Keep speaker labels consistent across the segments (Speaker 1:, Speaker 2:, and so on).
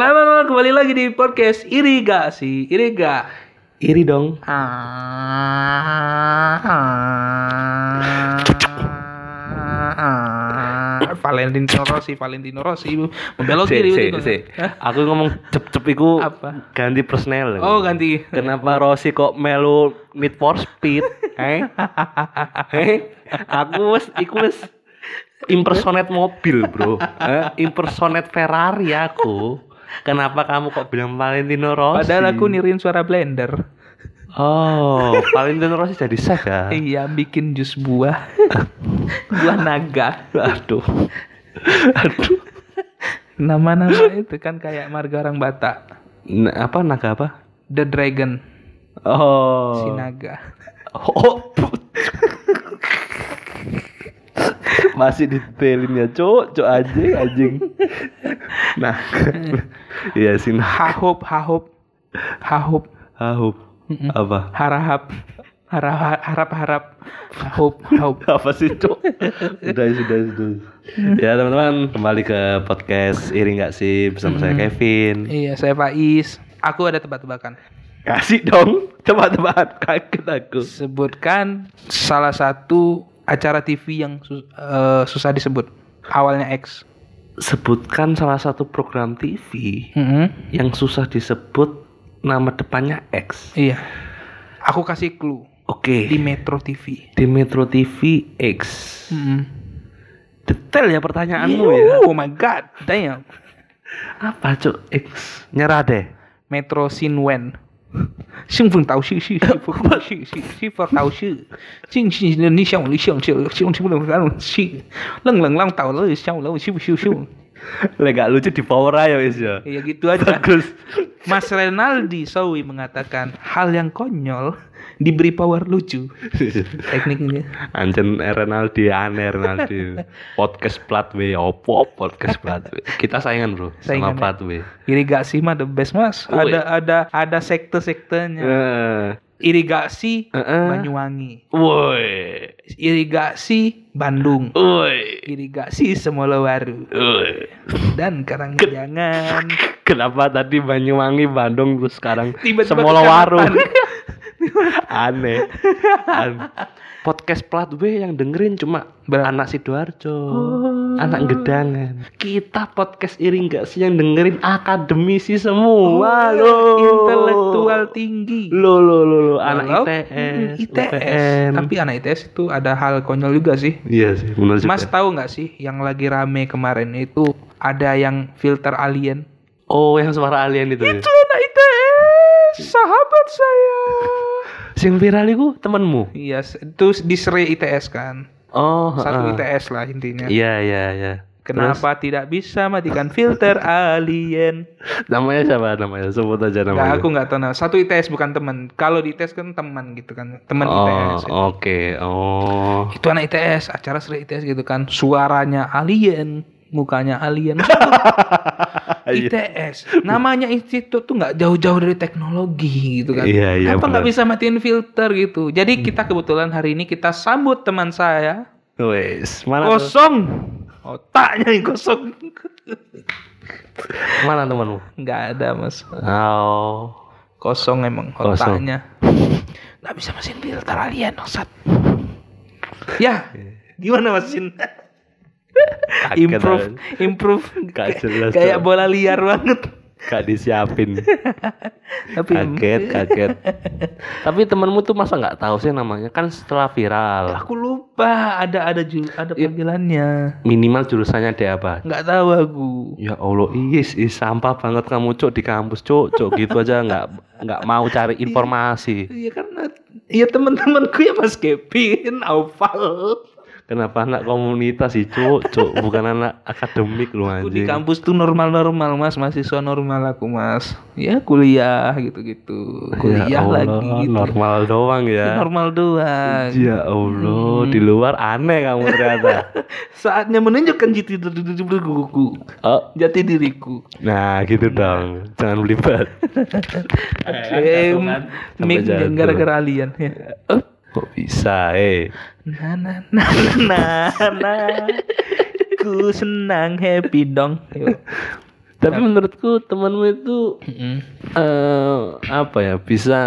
Speaker 1: kembali lagi di podcast irigasi iriga iri dong Ah. Valentino Rossi Valentino Rossi membelok
Speaker 2: Si,
Speaker 1: kiri
Speaker 2: si,
Speaker 1: itu.
Speaker 2: si.
Speaker 1: ya? Hah?
Speaker 2: Aku ngomong cep-cep iku
Speaker 1: Apa?
Speaker 2: ganti persnel.
Speaker 1: oh ganti
Speaker 2: Kenapa Rossi kok melu Need for Speed? Eh? eh? Aku wis iku wis impersonate mobil, Bro. Eh? Impersonate Ferrari aku. Kenapa kamu kok bilang Valentino Rossi?
Speaker 1: padahal aku nirin suara blender
Speaker 2: Oh, Valentino Rossi jadi chef ya.
Speaker 1: iya bikin jus buah buah naga
Speaker 2: Aduh. Aduh.
Speaker 1: nama-nama itu kan kayak marga orang Batak
Speaker 2: Na- apa naga apa?
Speaker 1: The Dragon
Speaker 2: Oh.
Speaker 1: si naga
Speaker 2: Oh. Masih detailin ya, cok, cok anjing, anjing. Nah, iya sih, nah.
Speaker 1: hahop hahop hahop
Speaker 2: Haup. Apa?
Speaker 1: harahap harap harap harap hahop hahop
Speaker 2: Apa sih, cok? Udah, sudah, sudah. Ya, teman-teman, kembali ke podcast Iri nggak sih bersama saya Kevin.
Speaker 1: iya saya Faiz aku ada tebak-tebakan
Speaker 2: Kasih dong, tebak-tebakan kaget aku.
Speaker 1: sebutkan salah satu acara TV yang sus- eh, susah disebut awalnya X
Speaker 2: Sebutkan salah satu program TV
Speaker 1: Mhm.
Speaker 2: yang susah disebut nama depannya X.
Speaker 1: iya aku kasih clue
Speaker 2: Oke.
Speaker 1: di Metro TV
Speaker 2: di Metro TV X.
Speaker 1: Mhm.
Speaker 2: Detail ya pertanyaanmu ya.
Speaker 1: oh my god damn
Speaker 2: Apa cuk X? Nyerah deh.
Speaker 1: Metro Sinwen 兴奋到秀秀，幸福到秀，静心的你想我的想秀，想心不能让我秀，愣愣让倒了想我我秀不秀秀。
Speaker 2: Lah gak lucu di power aja wis ya.
Speaker 1: Ya gitu aja.
Speaker 2: Bagus.
Speaker 1: Mas Renaldi Sowi mengatakan hal yang konyol diberi power lucu. Tekniknya.
Speaker 2: Anjen Renaldi aneh Renaldi. podcast plat W opo podcast plat W. Kita saingan bro
Speaker 1: Saingan, ya.
Speaker 2: sama plat W.
Speaker 1: Irigasi mah the best mas.
Speaker 2: Oh,
Speaker 1: Ada ada ada sekte-sektenya.
Speaker 2: Eh,
Speaker 1: Irigasi
Speaker 2: Heeh.
Speaker 1: Banyuwangi,
Speaker 2: Woi.
Speaker 1: irigasi Bandung,
Speaker 2: Woi.
Speaker 1: iya. irigasi Semolawaru
Speaker 2: Woi.
Speaker 1: dan Karangjangan.
Speaker 2: Kenapa tadi Banyuwangi Bandung terus sekarang
Speaker 1: Tiba-tiba
Speaker 2: Semolawaru?
Speaker 1: kecamatan.
Speaker 2: Aneh. An- Podcast plat B yang dengerin cuma anak Sidoarjo, anak Gedangan. Kita podcast iring gak sih yang dengerin akademisi semua lo.
Speaker 1: Intelektual tinggi. Hmm,
Speaker 2: Lo lo lo lo anak
Speaker 1: Walau-
Speaker 2: ITS,
Speaker 1: ITS.
Speaker 2: UPN.
Speaker 1: Tapi anak ITS itu ada hal konyol juga sih.
Speaker 2: Iya sih, benar juga.
Speaker 1: Mas tahu nggak sih yang lagi rame kemarin itu ada yang filter alien?
Speaker 2: Oh, yang suara alien itu. ya?
Speaker 1: anak ITS, sahabat saya.
Speaker 2: Sing viral itu temenmu.
Speaker 1: Iya, se- itu di seri ITS kan.
Speaker 2: Oh,
Speaker 1: Satu
Speaker 2: heeh.
Speaker 1: ITS lah intinya.
Speaker 2: Iya, iya, iya.
Speaker 1: Kenapa tidak bisa matikan filter alien?
Speaker 2: Terus, namanya siapa namanya? Sebut aja
Speaker 1: Nggak,
Speaker 2: namanya.
Speaker 1: aku nggak tahu. nama. Satu ITS bukan teman. Kalau di ITS kan teman gitu kan, teman
Speaker 2: oh,
Speaker 1: ITS.
Speaker 2: oke. Oh.
Speaker 1: Itu anak ITS, acara seri ITS gitu kan. Suaranya alien, mukanya alien.
Speaker 2: Iya.
Speaker 1: ITS namanya institut tuh nggak jauh-jauh dari teknologi gitu kan
Speaker 2: Iya, iya,
Speaker 1: apa nggak
Speaker 2: benar. Hmm.
Speaker 1: bisa matiin filter gitu jadi kita kebetulan hari ini kita sambut teman saya
Speaker 2: Wes, mana tuh?
Speaker 1: kosong otaknya yang kosong
Speaker 2: Mana temanmu?
Speaker 1: nggak ada mas
Speaker 2: Oh.
Speaker 1: kosong emang
Speaker 2: Kosong.
Speaker 1: otaknya nggak bisa mesin filter alien Ustaz ya gimana mesin
Speaker 2: Kaget
Speaker 1: improve improve
Speaker 2: Nggak jelas,
Speaker 1: kayak
Speaker 2: Cok.
Speaker 1: bola liar banget
Speaker 2: Gak disiapin.
Speaker 1: tapi
Speaker 2: kaget, kaget. Tapi temanmu tuh masa nggak tahu sih namanya? Kan setelah viral.
Speaker 1: aku lupa ada ada ju- ada panggilannya
Speaker 2: Minimal jurusannya dia apa?
Speaker 1: nggak tahu aku
Speaker 2: Ya Allah, is, is sampah banget kamu cok di kampus cok, cok gitu aja nggak nggak mau cari informasi.
Speaker 1: iya karena iya teman-temanku ya Mas Kevin Aufal
Speaker 2: Kenapa anak komunitas sih cok, cok bukan anak akademik lu
Speaker 1: aku di
Speaker 2: anjing.
Speaker 1: kampus tuh normal-normal Mas mahasiswa normal aku Mas ya kuliah gitu-gitu kuliah
Speaker 2: Ya Allah,
Speaker 1: lagi gitu.
Speaker 2: normal doang
Speaker 1: Ya,
Speaker 2: ya.
Speaker 1: normal Hmm. doang
Speaker 2: Ya Allah, di luar aneh kamu ternyata.
Speaker 1: saatnya menunjukkan jati diri diriku
Speaker 2: oh,
Speaker 1: jati diriku
Speaker 2: Nah gitu dong, jangan melibat.
Speaker 1: Eh, mic gara-gara alien ya
Speaker 2: Eh, Kok bisa eh?
Speaker 1: na na na na na, na. ku senang happy dong Yuk.
Speaker 2: Tapi menurutku temanmu itu
Speaker 1: Mm-mm.
Speaker 2: eh apa ya bisa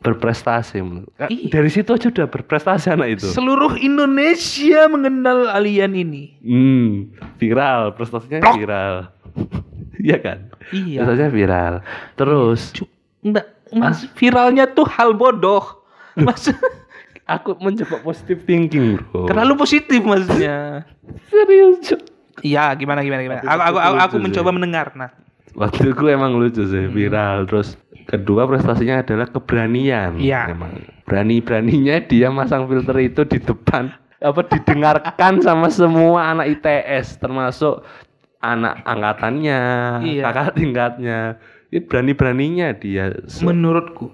Speaker 2: berprestasi menurut- Kan
Speaker 1: Iya.
Speaker 2: dari situ aja udah berprestasi anak itu
Speaker 1: Seluruh Indonesia mengenal alien ini.
Speaker 2: hmm, viral prestasinya
Speaker 1: Plok.
Speaker 2: viral iya kan
Speaker 1: Iya.
Speaker 2: prestasinya viral terus
Speaker 1: Cu- Enggak, Mas, viralnya tuh hal bodoh. Mas,
Speaker 2: aku mencoba positive thinking bro
Speaker 1: terlalu positif maksudnya.
Speaker 2: serius Cuk.
Speaker 1: Iya, gimana gimana gimana. Aku aku aku, aku mencoba mendengar. Nah,
Speaker 2: waktu itu emang lucu sih
Speaker 1: Hmm.
Speaker 2: viral terus kedua prestasinya adalah keberanian
Speaker 1: Iya.
Speaker 2: emang berani beraninya dia masang filter itu di depan apa didengarkan sama semua anak ITS termasuk anak angkatannya
Speaker 1: Iya.
Speaker 2: kakak tingkatnya ini berani beraninya dia Se-
Speaker 1: menurutku,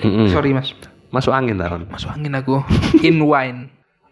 Speaker 2: Mm-mm.
Speaker 1: sorry Mas,
Speaker 2: masuk angin tahun
Speaker 1: masuk angin aku. In wine.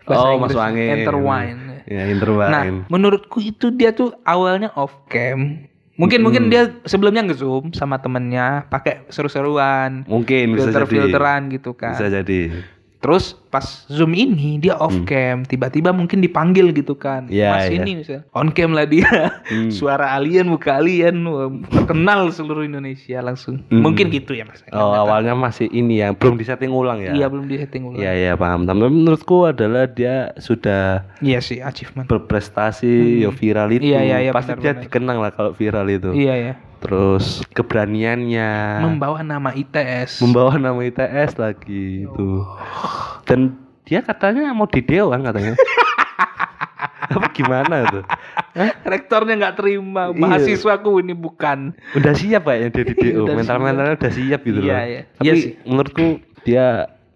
Speaker 1: Bahasa
Speaker 2: oh
Speaker 1: Inggris,
Speaker 2: masuk angin
Speaker 1: Enter wine.
Speaker 2: ya enter
Speaker 1: Nah,
Speaker 2: wine
Speaker 1: menurutku itu dia tuh awalnya off cam. Mungkin mungkin
Speaker 2: Hmm.
Speaker 1: dia sebelumnya nge-zoom sama temennya pakai seru-seruan,
Speaker 2: mungkin Hmm, bisa jadi
Speaker 1: filter-filteran gitu kan.
Speaker 2: bisa jadi Hmm.
Speaker 1: Terus pas zoom ini dia off cam, tiba-tiba mungkin dipanggil gitu kan.
Speaker 2: Iya,
Speaker 1: Mas
Speaker 2: iya.
Speaker 1: ini misal on cam lah dia.
Speaker 2: Hmm.
Speaker 1: Suara alien muka alien wah, terkenal seluruh Indonesia langsung.
Speaker 2: Hmm.
Speaker 1: Mungkin gitu ya Mas.
Speaker 2: oh awalnya masih ini ya belum disetting ulang ya
Speaker 1: Iya belum di setting ulang.
Speaker 2: Iya iya paham. Tapi menurutku adalah dia sudah
Speaker 1: Iya sih achievement.
Speaker 2: berprestasi ya viral itu.
Speaker 1: Iya, iya, iya, benar,
Speaker 2: Pasti dia
Speaker 1: benar.
Speaker 2: dikenang lah kalau viral itu.
Speaker 1: Iya ya.
Speaker 2: Terus keberaniannya
Speaker 1: Membawa nama ITS.
Speaker 2: membawa nama ITS lagi itu. Dan dia katanya mau di dewan katanya. Apa gimana tuh?
Speaker 1: Rektornya nggak terima,
Speaker 2: Iya.
Speaker 1: mahasiswaku ini bukan.
Speaker 2: Udah siap kayaknya dia di DO.
Speaker 1: Udah
Speaker 2: Mental-mentalnya udah siap gitu
Speaker 1: Iya,
Speaker 2: loh.
Speaker 1: iya.
Speaker 2: Tapi
Speaker 1: Iya sih.
Speaker 2: menurutku dia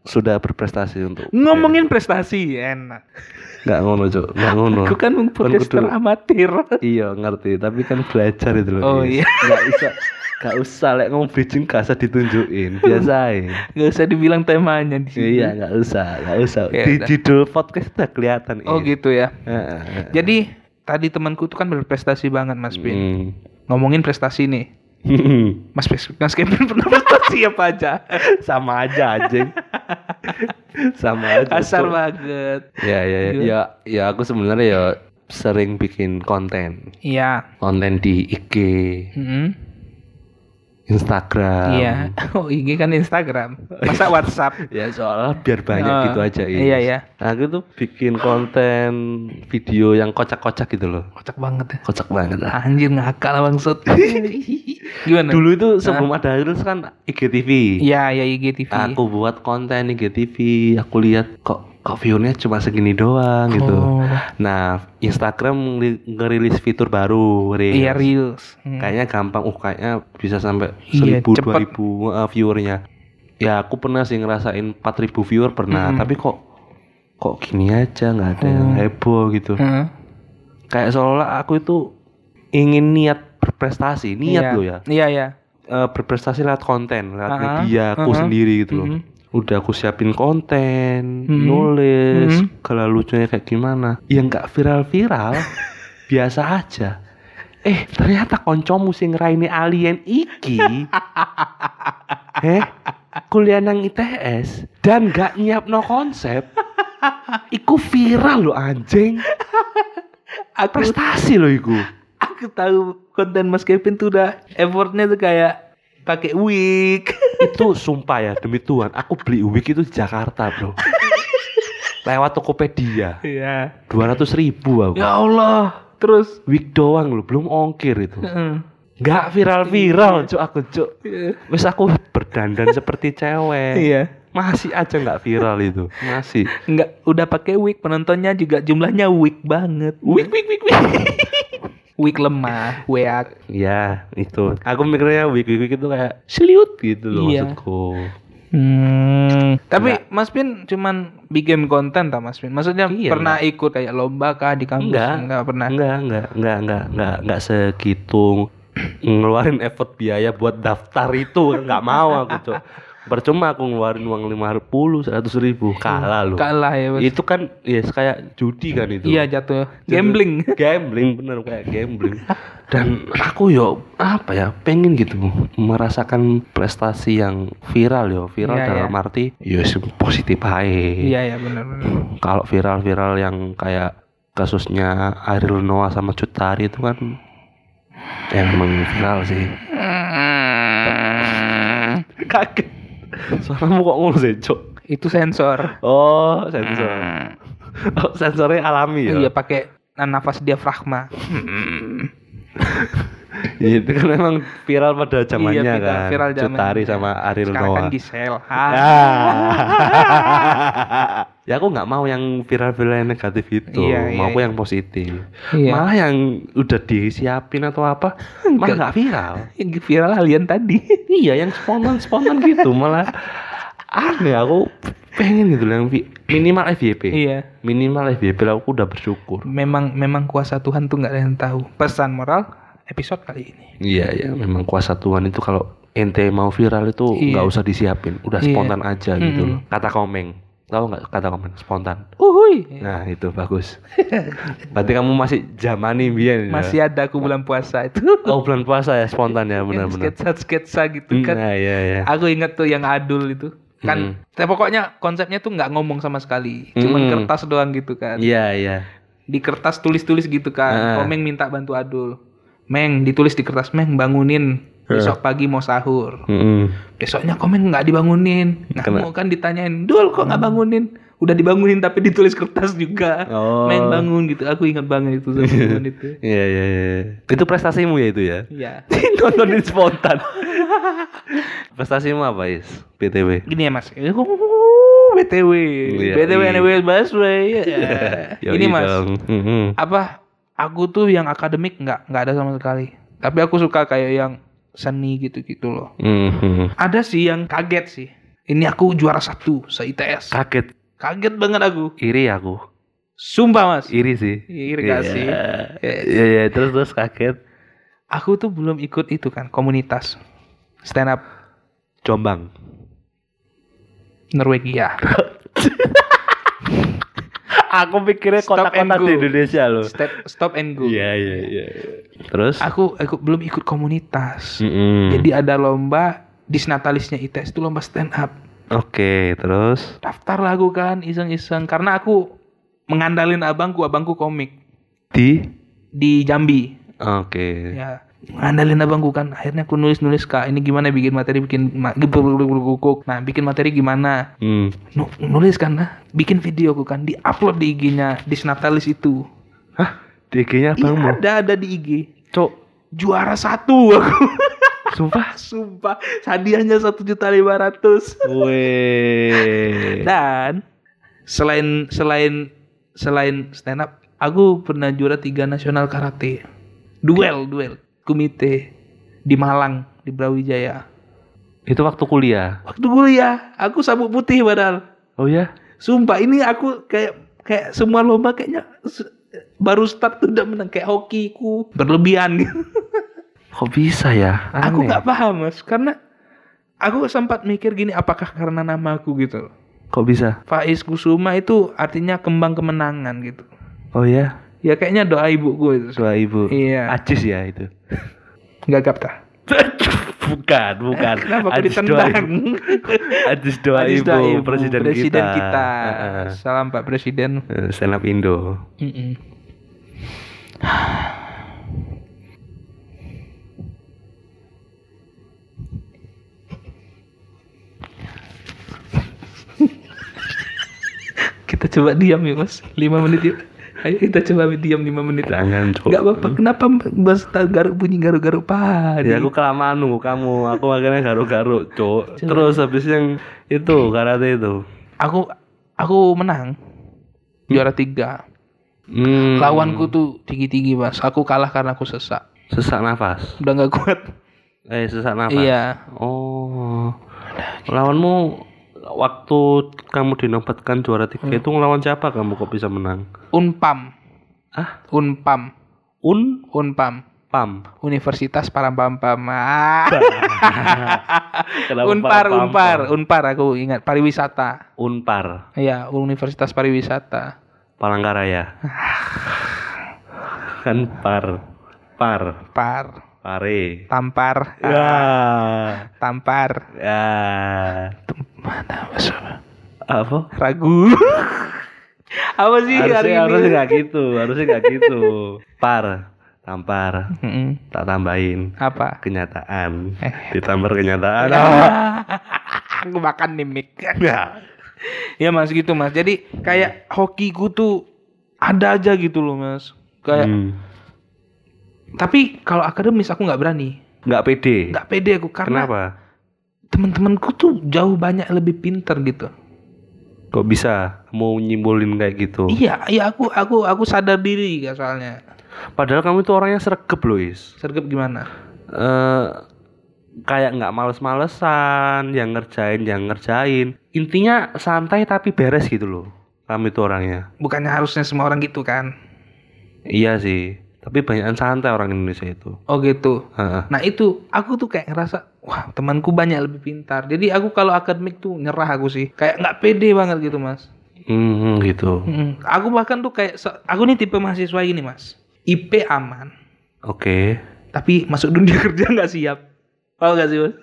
Speaker 2: sudah berprestasi untuk
Speaker 1: Ngomongin prestasi enak.
Speaker 2: nggak ngono cok nggak ngono
Speaker 1: Aku kan podcaster
Speaker 2: kudu-
Speaker 1: amatir.
Speaker 2: Iya ngerti, tapi kan belajar itu loh.
Speaker 1: Oh,
Speaker 2: Is.
Speaker 1: iya.
Speaker 2: Nggak bisa, nggak usah lek ngomong bridging gak usah ditunjukin, biasain.
Speaker 1: Gak usah dibilang temanya di sini.
Speaker 2: iya nggak usah, nggak usah.
Speaker 1: Ya
Speaker 2: Di
Speaker 1: udah.
Speaker 2: judul podcast udah kelihatan.
Speaker 1: Oh
Speaker 2: Is.
Speaker 1: gitu ya.
Speaker 2: Heeh, heeh.
Speaker 1: Jadi tadi temanku tuh kan berprestasi banget Mas Bin.
Speaker 2: Iya. Hmm.
Speaker 1: Ngomongin prestasi nih. Mas Bin, Mas Kevin pernah prestasi apa aja?
Speaker 2: sama aja anjing. sama aja.
Speaker 1: Kasar
Speaker 2: Cok.
Speaker 1: banget.
Speaker 2: Ya ya ya, ya ya aku sebenarnya ya sering bikin konten,
Speaker 1: Iya.
Speaker 2: konten di IG,
Speaker 1: Mm-mm.
Speaker 2: Instagram.
Speaker 1: Iya. Oh IG kan Instagram. Masa WhatsApp?
Speaker 2: Ya soalnya biar banyak
Speaker 1: Ah,
Speaker 2: gitu aja Is. Nah,
Speaker 1: iya, iya.
Speaker 2: Aku tuh bikin konten video yang kocak-kocak gitu loh.
Speaker 1: Kocak banget ya.
Speaker 2: Kocak banget lah.
Speaker 1: Anjir ngakal bangsat. Gimana?
Speaker 2: Dulu itu sebelum ada Reels kan IGTV.
Speaker 1: Nah. Iya, ya IGTV.
Speaker 2: Aku buat konten IGTV, aku lihat kok kok view-nya cuma segini doang gitu.
Speaker 1: Oh.
Speaker 2: Nah, Instagram ngeri- ngerilis fitur baru, Reels.
Speaker 1: Iya reels. Hmm.
Speaker 2: Kayaknya gampang, uh kayaknya bisa sampai
Speaker 1: Iya,
Speaker 2: 1000
Speaker 1: cepet.
Speaker 2: 2000 uh, viewernya. Ya, aku pernah sih ngerasain 4000 viewer pernah,
Speaker 1: Mm-mm.
Speaker 2: tapi kok kok gini aja nggak ada yang
Speaker 1: Hmm.
Speaker 2: heboh gitu.
Speaker 1: Heeh.
Speaker 2: kayak seolah aku itu ingin niat berprestasi
Speaker 1: Iya.
Speaker 2: niat loh ya
Speaker 1: Iya ya.
Speaker 2: Eh, berprestasi lewat konten lewat
Speaker 1: Ah,
Speaker 2: media aku
Speaker 1: ah.
Speaker 2: sendiri gitu loh
Speaker 1: Mhm.
Speaker 2: udah aku siapin konten
Speaker 1: Mhm.
Speaker 2: nulis
Speaker 1: Mhm.
Speaker 2: kalau lucunya kayak gimana ya nggak viral viral biasa aja eh ternyata koncomu sing ngeraini alien iki eh kuliah nang ITS dan nggak nyiap no konsep iku viral lo anjing
Speaker 1: Aku
Speaker 2: prestasi loh iku
Speaker 1: aku tahu konten Mas Kevin tuh udah effortnya tuh kayak pakai wig.
Speaker 2: itu sumpah ya demi Tuhan aku beli wig itu di Jakarta bro lewat Tokopedia
Speaker 1: Iya.
Speaker 2: 200 ribu aku
Speaker 1: ya Allah. Terus
Speaker 2: wig doang loh belum ongkir itu
Speaker 1: heeh.
Speaker 2: nggak viral-viral cuk aku cuk
Speaker 1: Iya.
Speaker 2: wes aku berdandan seperti cewek
Speaker 1: Iya.
Speaker 2: masih aja nggak viral itu masih
Speaker 1: Enggak udah pakai wig, penontonnya juga jumlahnya wig banget. Wig wig wig wig. wig lemah, weak.
Speaker 2: ya itu aku mikirnya wig wig itu kayak seliut gitu loh
Speaker 1: Iya.
Speaker 2: maksudku
Speaker 1: Hmm. Tapi
Speaker 2: Enggak.
Speaker 1: Mas Pin cuman bikin konten tak Mas Pin? Maksudnya
Speaker 2: Iya,
Speaker 1: pernah ikut kayak lomba kah di kampus?
Speaker 2: Enggak.
Speaker 1: pernah.
Speaker 2: Enggak, enggak, enggak, enggak, enggak, enggak segitu ngeluarin effort biaya buat daftar itu enggak mau aku cok percuma aku ngeluarin uang lima puluh seratus ribu kalah loh
Speaker 1: Kalah ya. Mas.
Speaker 2: itu kan ya kayak judi kan itu
Speaker 1: Iya jatuh.
Speaker 2: Jadi,
Speaker 1: Gambling.
Speaker 2: Iya. gambling bener kayak gambling dan aku yo apa ya pengen gitu merasakan prestasi yang viral yo viral
Speaker 1: Iya,
Speaker 2: dalam
Speaker 1: iya.
Speaker 2: arti yo positif aja
Speaker 1: Iya ya benar benar.
Speaker 2: kalau viral-viral yang kayak kasusnya Ariel Noah sama Cut Tari itu kan Ya emang viral sih.
Speaker 1: Kaget.
Speaker 2: Suaramu kok ngono sih, Cok?
Speaker 1: Itu sensor.
Speaker 2: Oh, sensor. Oh, sensornya alami ya.
Speaker 1: Iya pakai nafas diafragma.
Speaker 2: itu kan memang viral pada zamannya
Speaker 1: Iya, viral-
Speaker 2: kan.
Speaker 1: viral zaman.
Speaker 2: Cutari sama Ariel
Speaker 1: Sekarang kan
Speaker 2: Noah. Ya.
Speaker 1: Gisel.
Speaker 2: Ah. ya aku nggak mau yang viral-viral yang negatif itu,
Speaker 1: Iya,
Speaker 2: mau
Speaker 1: iya,
Speaker 2: aku
Speaker 1: iya.
Speaker 2: yang positif.
Speaker 1: Iya.
Speaker 2: Malah yang udah disiapin atau apa, malah nggak viral.
Speaker 1: Yang viral alien tadi.
Speaker 2: Iya, yang spontan-spontan gitu malah aneh aku pengen gitu loh yang vi- minimal FYP.
Speaker 1: iya.
Speaker 2: Minimal FYP lah aku udah bersyukur.
Speaker 1: Memang memang kuasa Tuhan tuh nggak ada yang tahu. Pesan moral episode kali ini.
Speaker 2: Iya ya, memang kuasa Tuhan itu kalau ente mau viral itu
Speaker 1: Iya.
Speaker 2: nggak usah disiapin, udah
Speaker 1: Iya.
Speaker 2: spontan aja gitu
Speaker 1: Mm-mm.
Speaker 2: loh. Kata komeng, tahu nggak kata komeng spontan?
Speaker 1: Uhuy.
Speaker 2: Nah itu bagus. Berarti kamu masih zamani biyen. ya?
Speaker 1: Masih Iya, ada aku bulan puasa itu.
Speaker 2: Oh bulan puasa ya spontan ya
Speaker 1: Yang
Speaker 2: benar-benar.
Speaker 1: Sketsa-sketsa gitu kan.
Speaker 2: Nah iya iya.
Speaker 1: Aku inget tuh yang adul itu
Speaker 2: Hmm.
Speaker 1: kan tapi pokoknya konsepnya tuh nggak ngomong sama sekali cuman
Speaker 2: Hmm.
Speaker 1: kertas doang gitu kan
Speaker 2: Iya iya.
Speaker 1: di kertas tulis-tulis gitu
Speaker 2: Ah.
Speaker 1: kan komeng minta bantu adul meng ditulis di kertas meng bangunin
Speaker 2: Ah.
Speaker 1: besok pagi mau sahur
Speaker 2: Mm-mm.
Speaker 1: besoknya komeng nggak dibangunin nggak
Speaker 2: Kena-
Speaker 1: mau kan ditanyain dul kok nggak bangunin udah dibangunin tapi ditulis kertas juga
Speaker 2: Oh.
Speaker 1: meng bangun gitu aku ingat banget itu sama momen itu
Speaker 2: Iya iya iya. Itu prestasimu ya itu ya.
Speaker 1: ya
Speaker 2: Nontonin spontan. prestasimu apa is? PTW.
Speaker 1: gini ya mas Uh, btw
Speaker 2: Iya,
Speaker 1: btw
Speaker 2: iya.
Speaker 1: anyway busway Ya.
Speaker 2: Yoi
Speaker 1: ini mas
Speaker 2: dong. Hmm, Mm-mm.
Speaker 1: apa aku tuh yang akademik nggak nggak ada sama sekali tapi aku suka kayak yang seni gitu gitu loh
Speaker 2: Mm-mm.
Speaker 1: ada sih yang kaget sih ini aku juara satu se ITS
Speaker 2: Kaget
Speaker 1: kaget banget aku
Speaker 2: iri aku.
Speaker 1: sumpah mas
Speaker 2: Iri sih.
Speaker 1: Iya, iri gak sih?
Speaker 2: Iya iya iya. terus terus kaget.
Speaker 1: aku tuh belum ikut itu kan komunitas stand up
Speaker 2: Jombang.
Speaker 1: Norwegia
Speaker 2: Aku pikirnya
Speaker 1: Stop and
Speaker 2: kota-kota
Speaker 1: go.
Speaker 2: di Indonesia loh.
Speaker 1: stop stop and go
Speaker 2: Iya iya iya. Terus?
Speaker 1: aku aku belum ikut komunitas
Speaker 2: Mm-mm.
Speaker 1: jadi ada lomba disnatalisnya ITS itu lomba stand up
Speaker 2: Oke, terus
Speaker 1: daftar lah aku kan iseng-iseng karena aku mengandalin abangku abangku komik
Speaker 2: di
Speaker 1: di Jambi
Speaker 2: Oke.
Speaker 1: ya ngandalin abangku kan akhirnya aku nulis nulis kak ini gimana bikin materi bikin ma- guguk. nah bikin materi gimana
Speaker 2: Hmm.
Speaker 1: Nu- nulis kan nah bikin video aku kan di upload di IG-nya di Snaptalis itu
Speaker 2: Hah? Di IG-nya
Speaker 1: Iya,
Speaker 2: Bang
Speaker 1: ada ada di IG
Speaker 2: Cok,
Speaker 1: juara satu aku
Speaker 2: sumpah.
Speaker 1: sumpah hadiahnya satu juta lima ratus
Speaker 2: Weh.
Speaker 1: dan selain selain selain stand up aku pernah juara tiga nasional karate duel duel komite di Malang di Brawijaya
Speaker 2: Itu waktu kuliah.
Speaker 1: waktu kuliah aku sabuk putih padahal
Speaker 2: Oh ya?
Speaker 1: sumpah ini aku kayak kayak semua lomba kayaknya se- baru start tuh udah menang kayak hokiku berlebihan gitu.
Speaker 2: Kok bisa ya?
Speaker 1: aku
Speaker 2: Aneh.
Speaker 1: nggak paham mas karena aku sempat mikir gini apakah karena namaku gitu
Speaker 2: Kok bisa?
Speaker 1: Faiz Kusuma itu artinya kembang kemenangan gitu
Speaker 2: Oh ya?
Speaker 1: Ya kayaknya doa ibuku itu.
Speaker 2: Doa ibu.
Speaker 1: Iya.
Speaker 2: Acis ya itu.
Speaker 1: Gak gapta.
Speaker 2: bukan, bukan.
Speaker 1: Kenapa aku
Speaker 2: Aziz doa
Speaker 1: ditendang?
Speaker 2: ibu. Aziz doa
Speaker 1: Aziz
Speaker 2: ibu, presiden, kita.
Speaker 1: kita.
Speaker 2: Heeh.
Speaker 1: Salam Pak Presiden.
Speaker 2: Eh, Stand up Indo.
Speaker 1: Mm-mm. kita coba diam yuk mas 5 menit yuk Ayo kita coba diam 5 menit
Speaker 2: Jangan, Cok.
Speaker 1: Gak apa-apa Kenapa mas garuk bunyi garuk-garuk padi
Speaker 2: Hmm? Ya aku kelamaan nunggu kamu, aku akhirnya garuk-garuk, cok. Terus habis yang itu
Speaker 1: Hmm.
Speaker 2: karate itu.
Speaker 1: aku aku menang juara tiga
Speaker 2: Hmm,
Speaker 1: lawanku tuh tinggi tinggi mas aku kalah karena aku sesak
Speaker 2: sesak nafas.
Speaker 1: udah nggak kuat
Speaker 2: Eh, sesak nafas.
Speaker 1: iya
Speaker 2: Oh. Lawanmu waktu kamu dinobatkan juara tiga
Speaker 1: Hmm.
Speaker 2: itu ngelawan siapa kamu kok bisa menang?
Speaker 1: unpam
Speaker 2: Ah,
Speaker 1: unpam
Speaker 2: un
Speaker 1: unpam
Speaker 2: pam.
Speaker 1: Universitas Parampampam ah.
Speaker 2: Kenapa
Speaker 1: unpar
Speaker 2: pam-pam?
Speaker 1: unpar unpar aku ingat pariwisata
Speaker 2: Unpar.
Speaker 1: Iya, Universitas Pariwisata.
Speaker 2: Palangkaraya. kan par. Par.
Speaker 1: Par,
Speaker 2: Pare.
Speaker 1: tampar,
Speaker 2: Ya.
Speaker 1: tampar.
Speaker 2: Ya.
Speaker 1: Mana mas?
Speaker 2: Apa?
Speaker 1: Ragu. Apa sih hari
Speaker 2: harusnya
Speaker 1: ini?
Speaker 2: harusnya nggak gitu harusnya nggak gitu par tampar
Speaker 1: Mm-mm.
Speaker 2: tak tambahin
Speaker 1: Apa?
Speaker 2: kenyataan
Speaker 1: Eh.
Speaker 2: ditampar kenyataan
Speaker 1: Aku makan nih mic.
Speaker 2: ya
Speaker 1: ya mas gitu mas. Jadi kayak hokiku tuh ada aja gitu loh mas. Kayak
Speaker 2: Hmm.
Speaker 1: tapi kalau akademis aku nggak berani.
Speaker 2: nggak pede
Speaker 1: Nggak pede aku karena
Speaker 2: kenapa
Speaker 1: teman-temanku tuh jauh banyak lebih pinter gitu.
Speaker 2: kok bisa mau nyimbulin kayak gitu
Speaker 1: Iya, iya aku aku aku sadar diri ya soalnya.
Speaker 2: padahal kamu itu orangnya sergap loh is
Speaker 1: Sergap gimana?
Speaker 2: Eh, kayak nggak males-malesan yang ngerjain yang ngerjain intinya santai tapi beres gitu loh kamu itu orangnya
Speaker 1: Bukannya harusnya semua orang gitu kan?
Speaker 2: Iya sih, tapi banyakan santai orang Indonesia itu.
Speaker 1: Oh gitu.
Speaker 2: Heeh.
Speaker 1: Nah itu aku tuh kayak ngerasa wah temanku banyak lebih pintar. Jadi aku kalau akademik tuh nyerah aku sih. Kayak nggak pede banget gitu mas.
Speaker 2: Hmm, gitu.
Speaker 1: Mm-mm. Aku bahkan tuh kayak se- aku nih tipe mahasiswa gini mas. IP aman,
Speaker 2: Oke.
Speaker 1: tapi masuk dunia kerja nggak siap. Paham gak sih mas?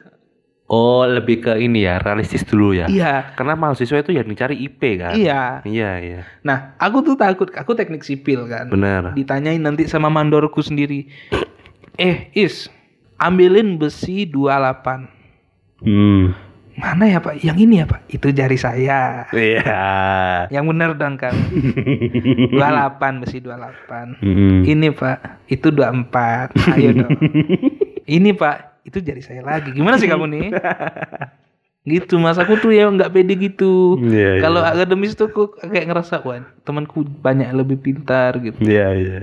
Speaker 2: Oh, lebih ke ini ya, realistis dulu ya.
Speaker 1: Iya,
Speaker 2: Karena mahasiswa itu ya dicari IP kan.
Speaker 1: iya.
Speaker 2: Iya, iya.
Speaker 1: Nah aku tuh takut. Aku teknik sipil kan.
Speaker 2: Benar.
Speaker 1: Ditanyain nanti sama mandorku sendiri. Eh is, ambilin besi 28
Speaker 2: Hmm.
Speaker 1: Mana ya pak? Yang ini ya pak? Itu jari saya.
Speaker 2: Iya.
Speaker 1: Yang benar dong kan. 28 besi 28.
Speaker 2: Hmm.
Speaker 1: Ini Pak, itu 24. Ayo iya dong. Ini Pak, itu jari saya lagi. Gimana sih kamu nih? Gitu Mas, aku tuh ya nggak pede gitu.
Speaker 2: Iya, iya.
Speaker 1: Kalau akademis tuh aku kayak ngerasa, wah temanku banyak lebih pintar gitu.
Speaker 2: Iya, iya.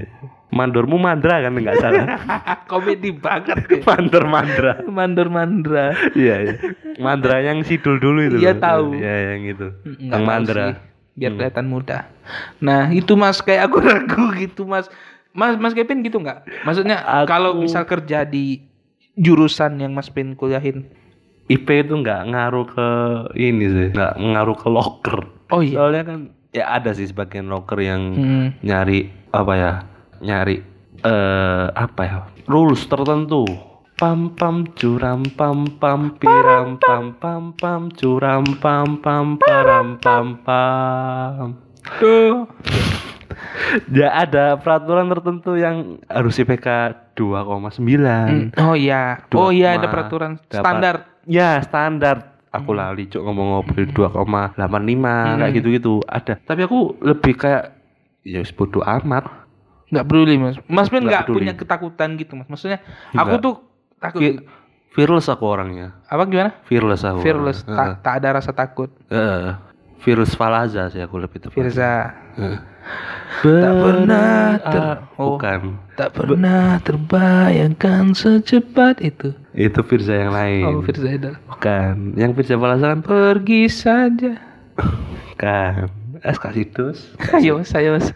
Speaker 2: Mandormu mandra kan enggak salah.
Speaker 1: Komedi banget ya.
Speaker 2: Mandor mandra.
Speaker 1: Mandor mandra.
Speaker 2: Iya, iya. Mandra yang sidul dulu itu.
Speaker 1: Iya,
Speaker 2: loh.
Speaker 1: tahu.
Speaker 2: Iya, yang itu.
Speaker 1: Nggak
Speaker 2: Yang
Speaker 1: tahu
Speaker 2: mandra. Hmm.
Speaker 1: sih, biar kelihatan muda. Nah itu mas kayak aku ragu gitu mas. Mas Mas Kevin gitu nggak? Maksudnya
Speaker 2: Aku-
Speaker 1: kalau misal kerja di jurusan yang Mas Pin kuliahin.
Speaker 2: IP itu nggak ngaruh ke ini sih, nggak ngaruh ke locker.
Speaker 1: Oh
Speaker 2: Soalnya kan ya ada sih sebagian locker yang
Speaker 1: Hmm.
Speaker 2: nyari apa ya, nyari eh apa ya, rules tertentu. Pam pam curam pam pam piram pam pam pam curam pam pam param pam pam.
Speaker 1: Tuh.
Speaker 2: Ya ada peraturan tertentu yang harus IPK 2,9.
Speaker 1: Oh iya.
Speaker 2: Dua
Speaker 1: Oh iya
Speaker 2: koma
Speaker 1: ada peraturan
Speaker 2: dapat.
Speaker 1: standar. Hmm.
Speaker 2: Ya standar aku lali cuk ngomong ngobrol 2,85 kayak gitu-gitu ada. Tapi aku lebih kayak ya wis bodo amat.
Speaker 1: Nggak peduli mas. Mas Pin
Speaker 2: Nggak
Speaker 1: nggak
Speaker 2: peduli.
Speaker 1: punya ketakutan gitu mas. Maksudnya aku
Speaker 2: Nggak.
Speaker 1: tuh takut.
Speaker 2: Fi- fearless aku orangnya.
Speaker 1: Apa gimana?
Speaker 2: Fearless aku.
Speaker 1: Fearless.
Speaker 2: orangnya.
Speaker 1: Tak, tak ada rasa takut.
Speaker 2: Heeh. Heeh. fearless Falaza sih aku lebih tepat.
Speaker 1: Firza.
Speaker 2: Heeh.
Speaker 1: Tak pernah ter.
Speaker 2: Ah,
Speaker 1: Oh.
Speaker 2: Bukan.
Speaker 1: Tak pernah terbayangkan secepat itu.
Speaker 2: Itu Firza yang lain.
Speaker 1: Oh, Firza Idol.
Speaker 2: Bukan. Yang Firza Falaza kan
Speaker 1: Pergi saja.
Speaker 2: bukan. Es kasidus.
Speaker 1: Ayo mas, ayo mas,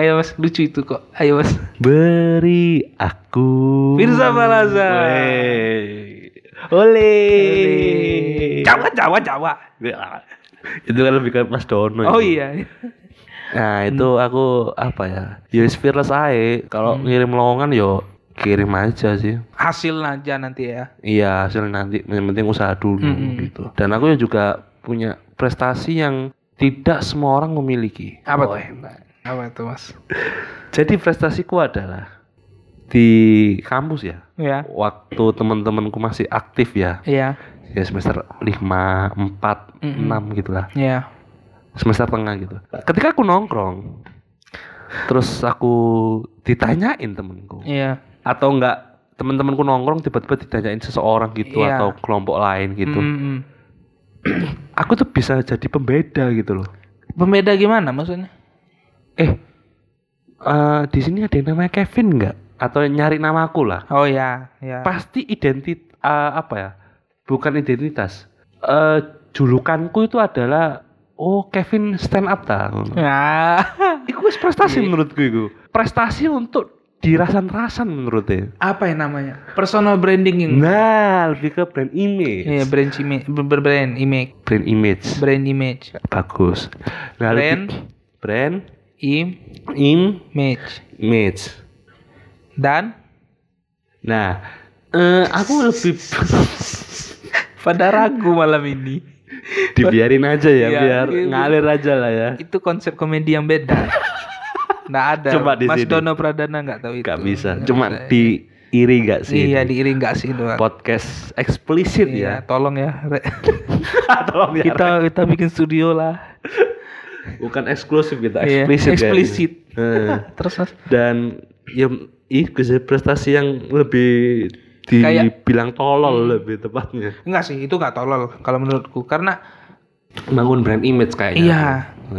Speaker 1: ayo mas, lucu itu kok. Ayo mas.
Speaker 2: Beri aku
Speaker 1: Firza Falaza.
Speaker 2: Wey. Ole.
Speaker 1: Jawa, Jawa, Jawa.
Speaker 2: Itu kan lebih ke Mas Dono
Speaker 1: Oh
Speaker 2: itu.
Speaker 1: iya. Hmm.
Speaker 2: Nah itu aku apa ya Ya wis fearless aja Kalau ngirim lowongan yo kirim aja sih
Speaker 1: Hasil aja nanti ya.
Speaker 2: Iya hasil nanti yang penting usaha dulu
Speaker 1: Mm-mm.
Speaker 2: gitu Dan aku juga punya prestasi yang tidak semua orang memiliki
Speaker 1: Apa
Speaker 2: Oh,
Speaker 1: tuh?
Speaker 2: enak.
Speaker 1: Apa itu mas?
Speaker 2: Jadi prestasiku adalah Di kampus ya
Speaker 1: Ya,
Speaker 2: waktu teman-temanku masih aktif ya
Speaker 1: iya,
Speaker 2: ya semester 5, 4,
Speaker 1: Mm-mm.
Speaker 2: 6 gitu lah
Speaker 1: iya.
Speaker 2: semester tengah gitu ketika aku nongkrong terus aku ditanyain temenku
Speaker 1: Iya.
Speaker 2: atau enggak teman-temanku nongkrong tiba-tiba ditanyain seseorang gitu
Speaker 1: Iya.
Speaker 2: atau kelompok lain gitu
Speaker 1: Mm-mm.
Speaker 2: aku tuh bisa jadi pembeda gitu loh
Speaker 1: Pembeda gimana maksudnya?
Speaker 2: eh eh, di sini ada yang namanya Kevin enggak atau nyari nama aku lah
Speaker 1: Oh iya, iya.
Speaker 2: pasti identit eh, apa ya bukan identitas Eh, julukanku itu adalah oh Kevin stand up ta
Speaker 1: Ya.
Speaker 2: itu wis prestasi
Speaker 1: Iya.
Speaker 2: menurutku itu prestasi untuk dirasan-rasan menurutnya
Speaker 1: Apa ya namanya? Personal branding yang.
Speaker 2: nah lebih ke brand image
Speaker 1: Iya, brand image, brand image,
Speaker 2: brand image
Speaker 1: brand image,
Speaker 2: bagus nah,
Speaker 1: Brand.
Speaker 2: lebih- brand
Speaker 1: image, match,
Speaker 2: image
Speaker 1: dan
Speaker 2: nah eh, aku lebih
Speaker 1: pada ragu malam ini.
Speaker 2: dibiarin aja ya
Speaker 1: Iya,
Speaker 2: biar
Speaker 1: iya.
Speaker 2: ngalir aja lah ya
Speaker 1: Itu konsep komedi yang beda. Nggak ada.
Speaker 2: Coba di
Speaker 1: Mas
Speaker 2: sini.
Speaker 1: Dono Pradana nggak tahu itu.
Speaker 2: Gak bisa.
Speaker 1: Nggak
Speaker 2: Cuma
Speaker 1: bisa.
Speaker 2: di iri gak sih?
Speaker 1: Iya, diiri nggak sih doang.
Speaker 2: Podcast eksplisit
Speaker 1: Iya, tolong ya. Re.
Speaker 2: ya. Tolong ya.
Speaker 1: kita kita bikin studio lah.
Speaker 2: bukan eksklusif kita
Speaker 1: Iya,
Speaker 2: eksplisit. kayaknya. Eh.
Speaker 1: eksplisit.
Speaker 2: Heeh.
Speaker 1: Terus Mas,
Speaker 2: Dan ya ih bisa prestasi yang lebih dibilang tolol lebih tepatnya.
Speaker 1: enggak sih, itu nggak tolol kalau menurutku karena
Speaker 2: Bangun brand image kayaknya. Iya.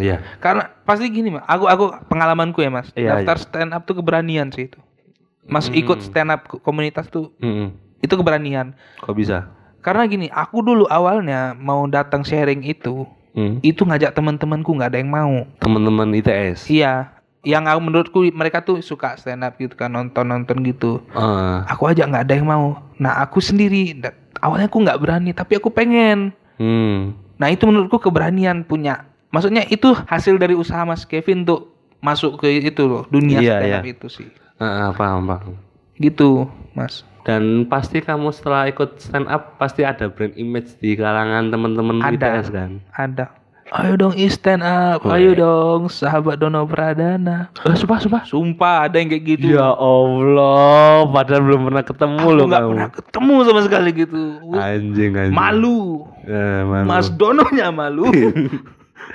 Speaker 2: Iya.
Speaker 1: karena pasti gini mas aku aku pengalamanku ya mas
Speaker 2: Iya, Hmm.
Speaker 1: daftar stand up tuh keberanian sih itu mas ikut stand up ko- komunitas tuh
Speaker 2: Mm-mm.
Speaker 1: itu keberanian
Speaker 2: Kok bisa?
Speaker 1: karena gini aku dulu awalnya mau datang sharing itu
Speaker 2: Hmm.
Speaker 1: itu ngajak teman-temanku nggak ada yang mau
Speaker 2: Teman-teman ITS.
Speaker 1: iya yang aku menurutku mereka tuh suka stand up gitu kan nonton nonton gitu
Speaker 2: Eh,
Speaker 1: aku aja nggak ada yang mau nah aku sendiri da- awalnya aku nggak berani tapi aku pengen
Speaker 2: hmm.
Speaker 1: Nah itu menurutku keberanian punya. Maksudnya itu hasil dari usaha Mas Kevin untuk masuk ke itu loh dunia
Speaker 2: Iya,
Speaker 1: stand up
Speaker 2: iya.
Speaker 1: itu sih.
Speaker 2: Eh, paham, paham.
Speaker 1: Gitu Mas.
Speaker 2: Dan pasti kamu setelah ikut stand up pasti ada brand image di kalangan teman-teman
Speaker 1: Ada.
Speaker 2: ITS kan.
Speaker 1: Ada. Ayo dong is stand up.
Speaker 2: Oh,
Speaker 1: Ayo
Speaker 2: iya.
Speaker 1: dong sahabat Dono Pradana.
Speaker 2: Eh, sumpah, sumpah.
Speaker 1: Sumpah ada yang kayak gitu.
Speaker 2: Ya Allah, padahal belum pernah ketemu
Speaker 1: Aku
Speaker 2: loh
Speaker 1: nggak
Speaker 2: kamu.
Speaker 1: pernah ketemu sama sekali gitu. Wih,
Speaker 2: Anjing anjing.
Speaker 1: Malu.
Speaker 2: Eh, malu. Iya.
Speaker 1: Mas Dononya malu.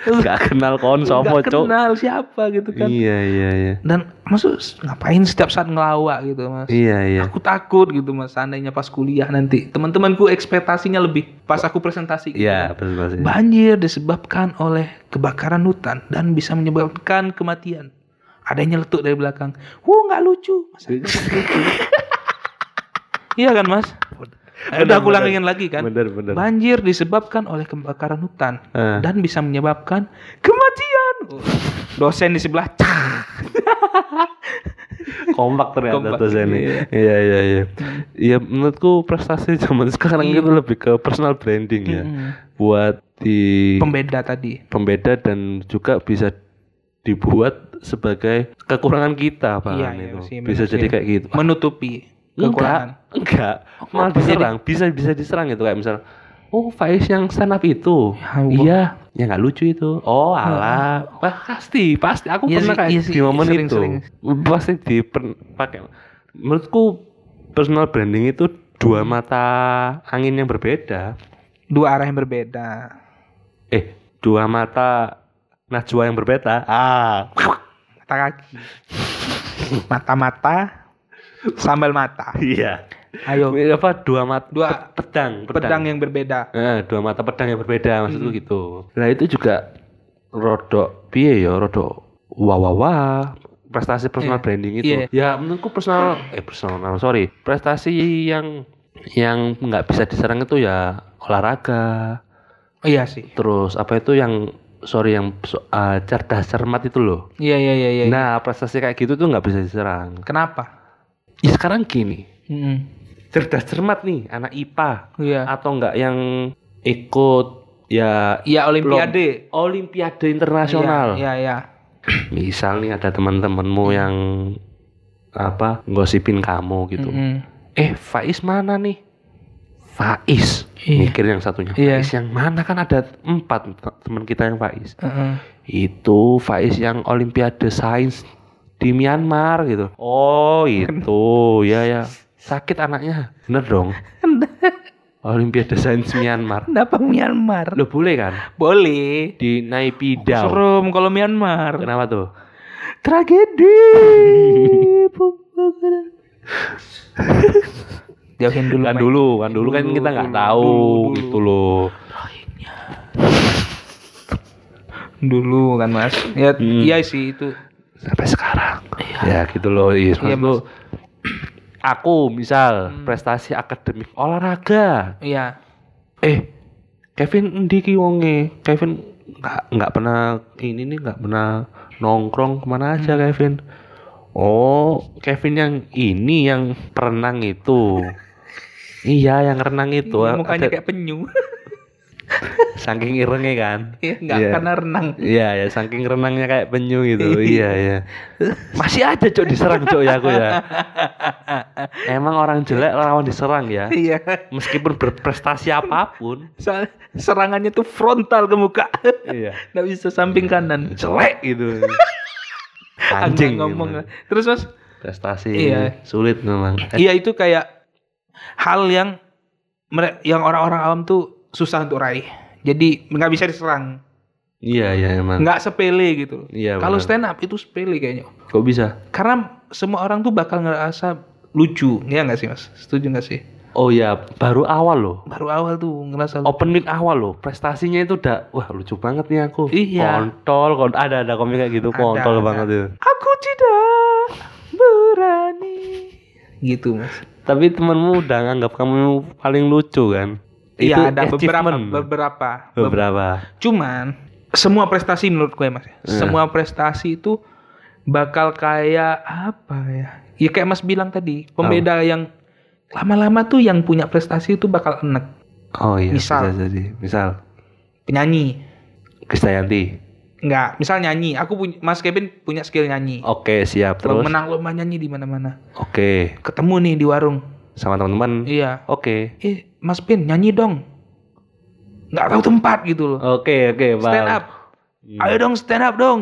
Speaker 2: Gak kenal kon sopo,
Speaker 1: Nggak
Speaker 2: Cok.
Speaker 1: kenal kan? siapa gitu kan.
Speaker 2: Iya, iya, iya.
Speaker 1: Dan maksud ngapain setiap saat ngelawak gitu Mas.
Speaker 2: Iya, iya.
Speaker 1: Aku takut gitu mas, seandainya pas kuliah nanti teman-temanku ekspektasinya lebih pas aku presentasi. gitu.
Speaker 2: Iya, betul betul.
Speaker 1: Banjir disebabkan oleh kebakaran hutan dan bisa menyebabkan kematian. Ada yang nyeletuk dari belakang. Wuh nggak lucu. Mas, aku nggak lucu. iya kan mas? Eh, Udah
Speaker 2: Benar,
Speaker 1: aku
Speaker 2: benar.
Speaker 1: ulangin lagi kan.
Speaker 2: Bener, bener.
Speaker 1: Banjir disebabkan oleh kebakaran hutan
Speaker 2: Eh.
Speaker 1: dan bisa menyebabkan kematian. Oh, Dosen di sebelah. Cah.
Speaker 2: kompak ternyata
Speaker 1: Kompak,
Speaker 2: tuh Zeni.
Speaker 1: iya.
Speaker 2: Iya iya iya. Iya menurutku prestasi zaman sekarang
Speaker 1: Iya.
Speaker 2: itu lebih ke personal branding ya.
Speaker 1: Mm-mm.
Speaker 2: Buat di
Speaker 1: Hmm. Pembeda tadi.
Speaker 2: pembeda dan juga bisa dibuat sebagai kekurangan kita pak
Speaker 1: Iya, iya,
Speaker 2: itu.
Speaker 1: sih, benar
Speaker 2: bisa jadi
Speaker 1: sih.
Speaker 2: kayak gitu.
Speaker 1: Menutupi kekurangan.
Speaker 2: Enggak, enggak.
Speaker 1: Oh,
Speaker 2: Malah
Speaker 1: apa jadi?
Speaker 2: diserang, bisa bisa diserang gitu kayak misal Oh, Faiz yang stand up itu.
Speaker 1: Ya Allah.
Speaker 2: iya, ya nggak lucu itu. Oh, alah. Wah, pasti, pasti aku
Speaker 1: Iya
Speaker 2: pernah
Speaker 1: sih,
Speaker 2: kayak
Speaker 1: iya sih,
Speaker 2: di momen
Speaker 1: sering,
Speaker 2: itu.
Speaker 1: sering.
Speaker 2: Pasti dipakai. Menurutku personal branding itu dua
Speaker 1: Hmm.
Speaker 2: mata angin yang berbeda.
Speaker 1: dua arah yang berbeda.
Speaker 2: Eh, dua mata najwa yang berbeda. Ah.
Speaker 1: Mata kaki. Mata-mata sambal mata.
Speaker 2: Iya.
Speaker 1: Ayo.
Speaker 2: Apa dua mata
Speaker 1: Dua
Speaker 2: pedang,
Speaker 1: pedang ya? yang berbeda.
Speaker 2: Eh, dua mata pedang yang berbeda maksudku gitu. Nah itu juga rodok piye ya, rodok wah wah wah prestasi personal
Speaker 1: Iya,
Speaker 2: branding itu. Ya menurutku personal eh personal oh, sorry prestasi yang yang nggak bisa diserang itu ya olahraga
Speaker 1: Oh, iya sih.
Speaker 2: terus apa itu yang sorry yang so- eh, cerdas cermat itu loh.
Speaker 1: Iya iya iya iya.
Speaker 2: Nah prestasi kayak gitu tuh nggak bisa diserang.
Speaker 1: Kenapa?
Speaker 2: Ih, Ya, sekarang gini
Speaker 1: Mm-mm.
Speaker 2: cerdas cermat nih anak IPA
Speaker 1: Iya.
Speaker 2: atau nggak yang ikut ya
Speaker 1: Iya olimpiade.
Speaker 2: Olimpiade internasional.
Speaker 1: Iya iya.
Speaker 2: Misal nih ada teman-temanmu yang apa ngosipin kamu
Speaker 1: iya.
Speaker 2: gitu.
Speaker 1: Mm-mm.
Speaker 2: Eh Faiz mana nih? Faiz.
Speaker 1: Iya.
Speaker 2: Mikir yang satunya.
Speaker 1: Iya.
Speaker 2: Faiz yang mana kan ada empat teman kita yang Faiz.
Speaker 1: Heeh.
Speaker 2: Itu Faiz yang Olimpiade Sains di Myanmar gitu. Oh itu ya ya sakit anaknya bener dong. Olimpiade Sains Myanmar.
Speaker 1: Kenapa Myanmar?
Speaker 2: Lo boleh kan
Speaker 1: Boleh.
Speaker 2: di Naipidau.
Speaker 1: Serem kalau Myanmar.
Speaker 2: Kenapa tuh?
Speaker 1: Tragedi. pembakaran. Jauhin dulu.
Speaker 2: kan
Speaker 1: Mike.
Speaker 2: dulu kan dulu kan
Speaker 1: Dulu,
Speaker 2: kita nggak
Speaker 1: dulu,
Speaker 2: tahu
Speaker 1: dulu,
Speaker 2: gitu loh
Speaker 1: Dulu kan Mas. Ya
Speaker 2: Hmm.
Speaker 1: iya sih itu.
Speaker 2: sampai sekarang ya gitu loh iya,
Speaker 1: Iya,
Speaker 2: maksud lu, aku misal prestasi akademik olahraga
Speaker 1: Iya.
Speaker 2: eh Kevin endi ki wonge Kevin nggak nggak pernah ini nih nggak pernah nongkrong kemana aja Kevin oh Kevin yang ini yang perenang itu iya yang renang itu
Speaker 1: mukanya
Speaker 2: Ada-
Speaker 1: kayak penyu
Speaker 2: saking irengnya kan
Speaker 1: ya enggak
Speaker 2: Iya.
Speaker 1: karena renang
Speaker 2: Iya ya, saking renangnya kayak penyu gitu. iya ya. Masih aja cok diserang cok ya aku ya. Emang orang jelek lawan diserang ya.
Speaker 1: iya
Speaker 2: Meskipun berprestasi apapun,
Speaker 1: soal serangannya tuh frontal ke muka
Speaker 2: iya.
Speaker 1: nggak bisa samping kanan
Speaker 2: Jelek gitu. Anjing.
Speaker 1: Nggak ngomong lah.
Speaker 2: memang.
Speaker 1: Terus mas,
Speaker 2: Prestasi
Speaker 1: Iya.
Speaker 2: sulit memang.
Speaker 1: iya
Speaker 2: Eh,
Speaker 1: itu kayak hal yang mere- yang orang-orang awam tuh susah untuk raih. Jadi nggak bisa diserang,
Speaker 2: Iya iya emang.
Speaker 1: nggak sepele gitu.
Speaker 2: Iya.
Speaker 1: Kalau
Speaker 2: benar.
Speaker 1: stand up itu sepele kayaknya.
Speaker 2: kok bisa?
Speaker 1: Karena semua orang tuh bakal ngerasa lucu, ya nggak sih mas? Setuju nggak sih?
Speaker 2: Oh ya, baru awal loh.
Speaker 1: Baru awal tuh ngerasa lucu.
Speaker 2: Open mic awal loh, prestasinya itu udah wah lucu banget nih aku.
Speaker 1: Iya.
Speaker 2: Kontol, kon- ada ada komik kayak gitu,
Speaker 1: Ada,
Speaker 2: kontol
Speaker 1: ada.
Speaker 2: banget itu.
Speaker 1: Aku tidak berani. Gitu mas.
Speaker 2: Tapi temenmu udah nganggap kamu paling lucu kan? Itu
Speaker 1: Iya ada beberapa,
Speaker 2: achievement.
Speaker 1: beberapa,
Speaker 2: beberapa. Eh.
Speaker 1: Cuman semua prestasi menurut gue mas, ya. semua prestasi itu bakal kayak apa ya? Ya kayak mas bilang tadi, pembeda yang lama-lama tuh yang punya prestasi itu bakal enek
Speaker 2: Oh iya,
Speaker 1: Misal.
Speaker 2: bisa jadi. Misal
Speaker 1: penyanyi.
Speaker 2: Krisdayanti.
Speaker 1: Enggak, misal nyanyi, aku punya Mas Kevin punya skill nyanyi.
Speaker 2: Oke, siap.
Speaker 1: Terus?
Speaker 2: Oh, Terus
Speaker 1: Menang lomba nyanyi di mana-mana.
Speaker 2: oke,
Speaker 1: Ketemu nih di warung.
Speaker 2: sama teman-teman.
Speaker 1: Iya.
Speaker 2: Oke.
Speaker 1: Eh, Mas Pin nyanyi dong. Nggak tahu tempat gitu
Speaker 2: Oh,
Speaker 1: loh.
Speaker 2: Oke, oke, Bang.
Speaker 1: Stand up.
Speaker 2: Hmm.
Speaker 1: Ayo dong stand up dong.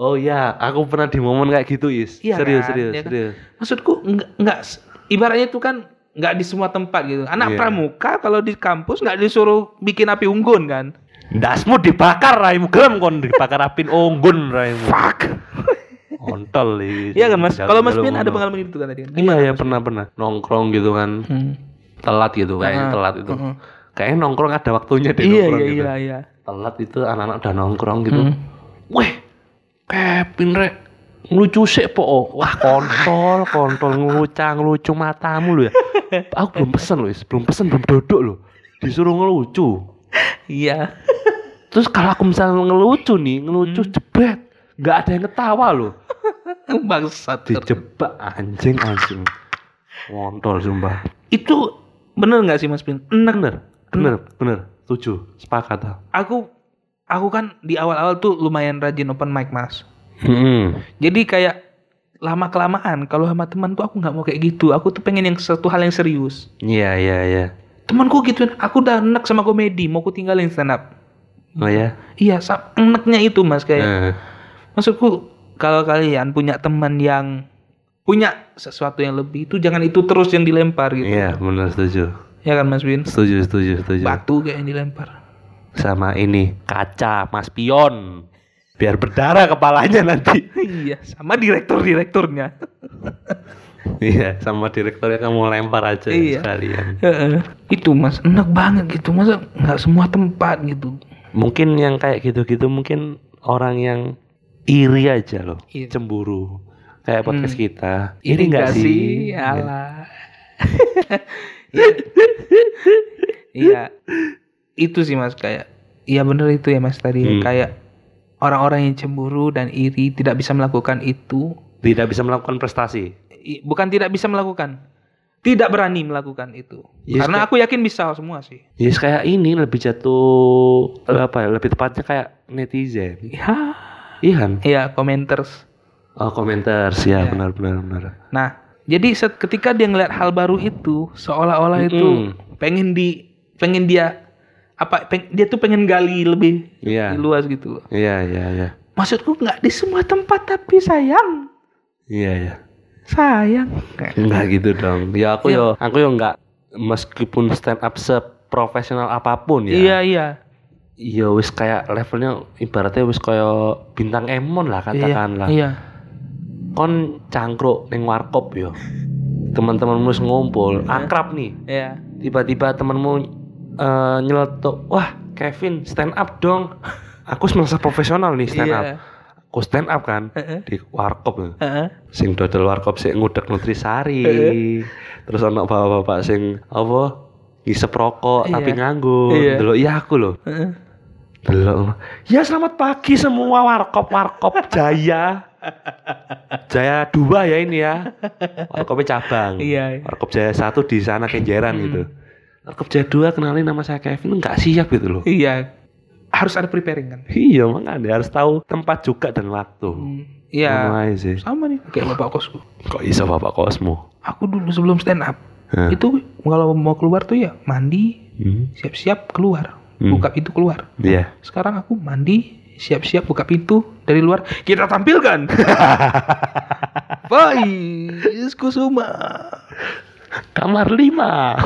Speaker 2: Oh iya, aku pernah di momen kayak gitu, Is.
Speaker 1: Iya
Speaker 2: serius,
Speaker 1: kan,
Speaker 2: serius,
Speaker 1: iya kan?
Speaker 2: serius.
Speaker 1: maksudku nggak nggak s- ibaratnya itu kan nggak di semua tempat gitu anak
Speaker 2: Iya.
Speaker 1: pramuka kalau di kampus nggak disuruh bikin api unggun kan
Speaker 2: Dasmu dibakar raimu gelem kon dibakar apin unggun raimu. Fuck. Ontol Is.
Speaker 1: iya kan mas
Speaker 2: Jalur-
Speaker 1: kalau mas
Speaker 2: jalur
Speaker 1: Pin ada
Speaker 2: ngono.
Speaker 1: pengalaman gitu kan tadi kan
Speaker 2: Iya, ya pernah pernah nongkrong gitu kan.
Speaker 1: Hmm.
Speaker 2: Telat gitu kayaknya
Speaker 1: Heeh,
Speaker 2: telat itu.
Speaker 1: heeh.
Speaker 2: Kayaknya nongkrong ada waktunya deh
Speaker 1: iya
Speaker 2: nongkrong
Speaker 1: iya
Speaker 2: gitu.
Speaker 1: iya iya
Speaker 2: Telat itu anak-anak udah nongkrong gitu.
Speaker 1: Hmm.
Speaker 2: Weh, Kevin rek ngelucu sik po. oh. Wah, kontol, kontol ngelucu, ngelucu matamu lu ya. Aku belum pesen loh, Is. belum pesen, belum duduk loh. Disuruh ngelucu.
Speaker 1: iya
Speaker 2: Terus kalau aku misalnya ngelucu nih, ngelucu jebret. Nggak ada yang ketawa loh.
Speaker 1: bangsat
Speaker 2: Dijebak anjing anjing. Kontol sumpah. Hmm.
Speaker 1: itu bener nggak sih mas Pin enak
Speaker 2: Bener, bener, bener. Setuju, sepakat. ah.
Speaker 1: aku aku kan di awal-awal tuh lumayan rajin open mic mas
Speaker 2: Hmm.
Speaker 1: jadi kayak lama kelamaan kalau sama teman tuh aku nggak mau kayak gitu aku tuh pengen yang satu hal yang serius
Speaker 2: Iya, iya, iya.
Speaker 1: temanku gituin aku udah enek sama komedi mau ku tinggalin stand up
Speaker 2: Oh ya.
Speaker 1: iya sa- eneknya itu mas kayak
Speaker 2: Eh.
Speaker 1: maksudku kalau kalian punya teman yang punya sesuatu yang lebih itu jangan itu terus yang dilempar gitu
Speaker 2: Iya, bener setuju.
Speaker 1: ya kan mas Win
Speaker 2: Setuju, setuju, setuju.
Speaker 1: batu kayak yang dilempar
Speaker 2: Sama ini kaca Mas Pion. Biar berdarah kepalanya nanti.
Speaker 1: iya sama direktur direkturnya
Speaker 2: iya, sama direkturnya kamu lempar aja
Speaker 1: Iya.
Speaker 2: sekalian.
Speaker 1: itu mas enak banget gitu masa nggak semua tempat gitu
Speaker 2: Mungkin yang kayak gitu-gitu mungkin orang yang iri aja loh,
Speaker 1: Iya.
Speaker 2: cemburu. Kayak podcast
Speaker 1: Hmm.
Speaker 2: kita. Iri nggak sih? Iya.
Speaker 1: Alah. Iya. Itu sih Mas kayak. Iya bener itu ya Mas tadi
Speaker 2: Hmm.
Speaker 1: kayak orang-orang yang cemburu dan iri tidak bisa melakukan itu.
Speaker 2: Tidak bisa melakukan prestasi.
Speaker 1: I- Bukan tidak bisa melakukan. Tidak berani melakukan itu.
Speaker 2: Yes,
Speaker 1: Karena aku yakin bisa semua sih.
Speaker 2: Ya, Yes, kayak ini lebih jatuh apa ya? Lebih tepatnya kayak netizen.
Speaker 1: Ya.
Speaker 2: Iya kan?
Speaker 1: Iya, commenters.
Speaker 2: Oh, komentar sih ya,
Speaker 1: Iya.
Speaker 2: benar benar benar.
Speaker 1: Nah, jadi set- ketika dia ngeliat hal baru itu seolah-olah itu
Speaker 2: Mm-mm.
Speaker 1: pengen di pengen dia apa peng- dia tuh pengen gali lebih
Speaker 2: Iya.
Speaker 1: luas gitu loh.
Speaker 2: Iya, iya, iya.
Speaker 1: Maksudku nggak di semua tempat tapi sayang,
Speaker 2: Iya, iya.
Speaker 1: sayang.
Speaker 2: Enggak gitu dong. Ya aku
Speaker 1: Iya.
Speaker 2: yo, aku yo enggak meskipun stand up seprofesional apapun ya.
Speaker 1: Iya iya.
Speaker 2: Ya wis kayak levelnya ibaratnya wis kaya bintang emon lah katakanlah.
Speaker 1: Iya.
Speaker 2: Kon cangkruk ning warkop yo. Teman-temanmu wis ngumpul, akrab nih.
Speaker 1: Iya.
Speaker 2: Tiba-tiba temanmu eh, nyeletuk, "Wah, Kevin stand up dong." Aku merasa profesional nih stand up.
Speaker 1: Iya.
Speaker 2: Aku stand up kan
Speaker 1: Heeh.
Speaker 2: di warkop. loh.
Speaker 1: Heeh.
Speaker 2: sing dodol warkop sik ngudek nutrisari
Speaker 1: Heeh.
Speaker 2: terus ono bapak-bapak sing apa ngisep rokok
Speaker 1: Iya.
Speaker 2: tapi nganggur
Speaker 1: Iya.
Speaker 2: delok ya aku loh
Speaker 1: Heeh.
Speaker 2: delok ya selamat pagi semua warkop warkop jaya jaya dua ya ini ya warkopnya cabang
Speaker 1: Iya.
Speaker 2: warkop jaya satu di sana kenjeran
Speaker 1: Hmm.
Speaker 2: gitu warkop jaya dua kenalin nama saya Kevin nggak siap gitu loh
Speaker 1: Iya. Harus ada preparing kan.
Speaker 2: iya makanya harus tahu tempat juga dan waktu
Speaker 1: Hmm, Iya.
Speaker 2: Mulai sih
Speaker 1: Sama nih kayak bapak kosku.
Speaker 2: kok iso bapak kosmo
Speaker 1: Aku dulu sebelum stand up
Speaker 2: Hah.
Speaker 1: itu kalau mau keluar tuh ya mandi
Speaker 2: Hmm.
Speaker 1: siap-siap keluar
Speaker 2: Hmm.
Speaker 1: buka pintu keluar.
Speaker 2: Iya.
Speaker 1: Sekarang aku mandi siap-siap buka pintu dari luar kita tampilkan Faiz Kusuma
Speaker 2: Kamar lima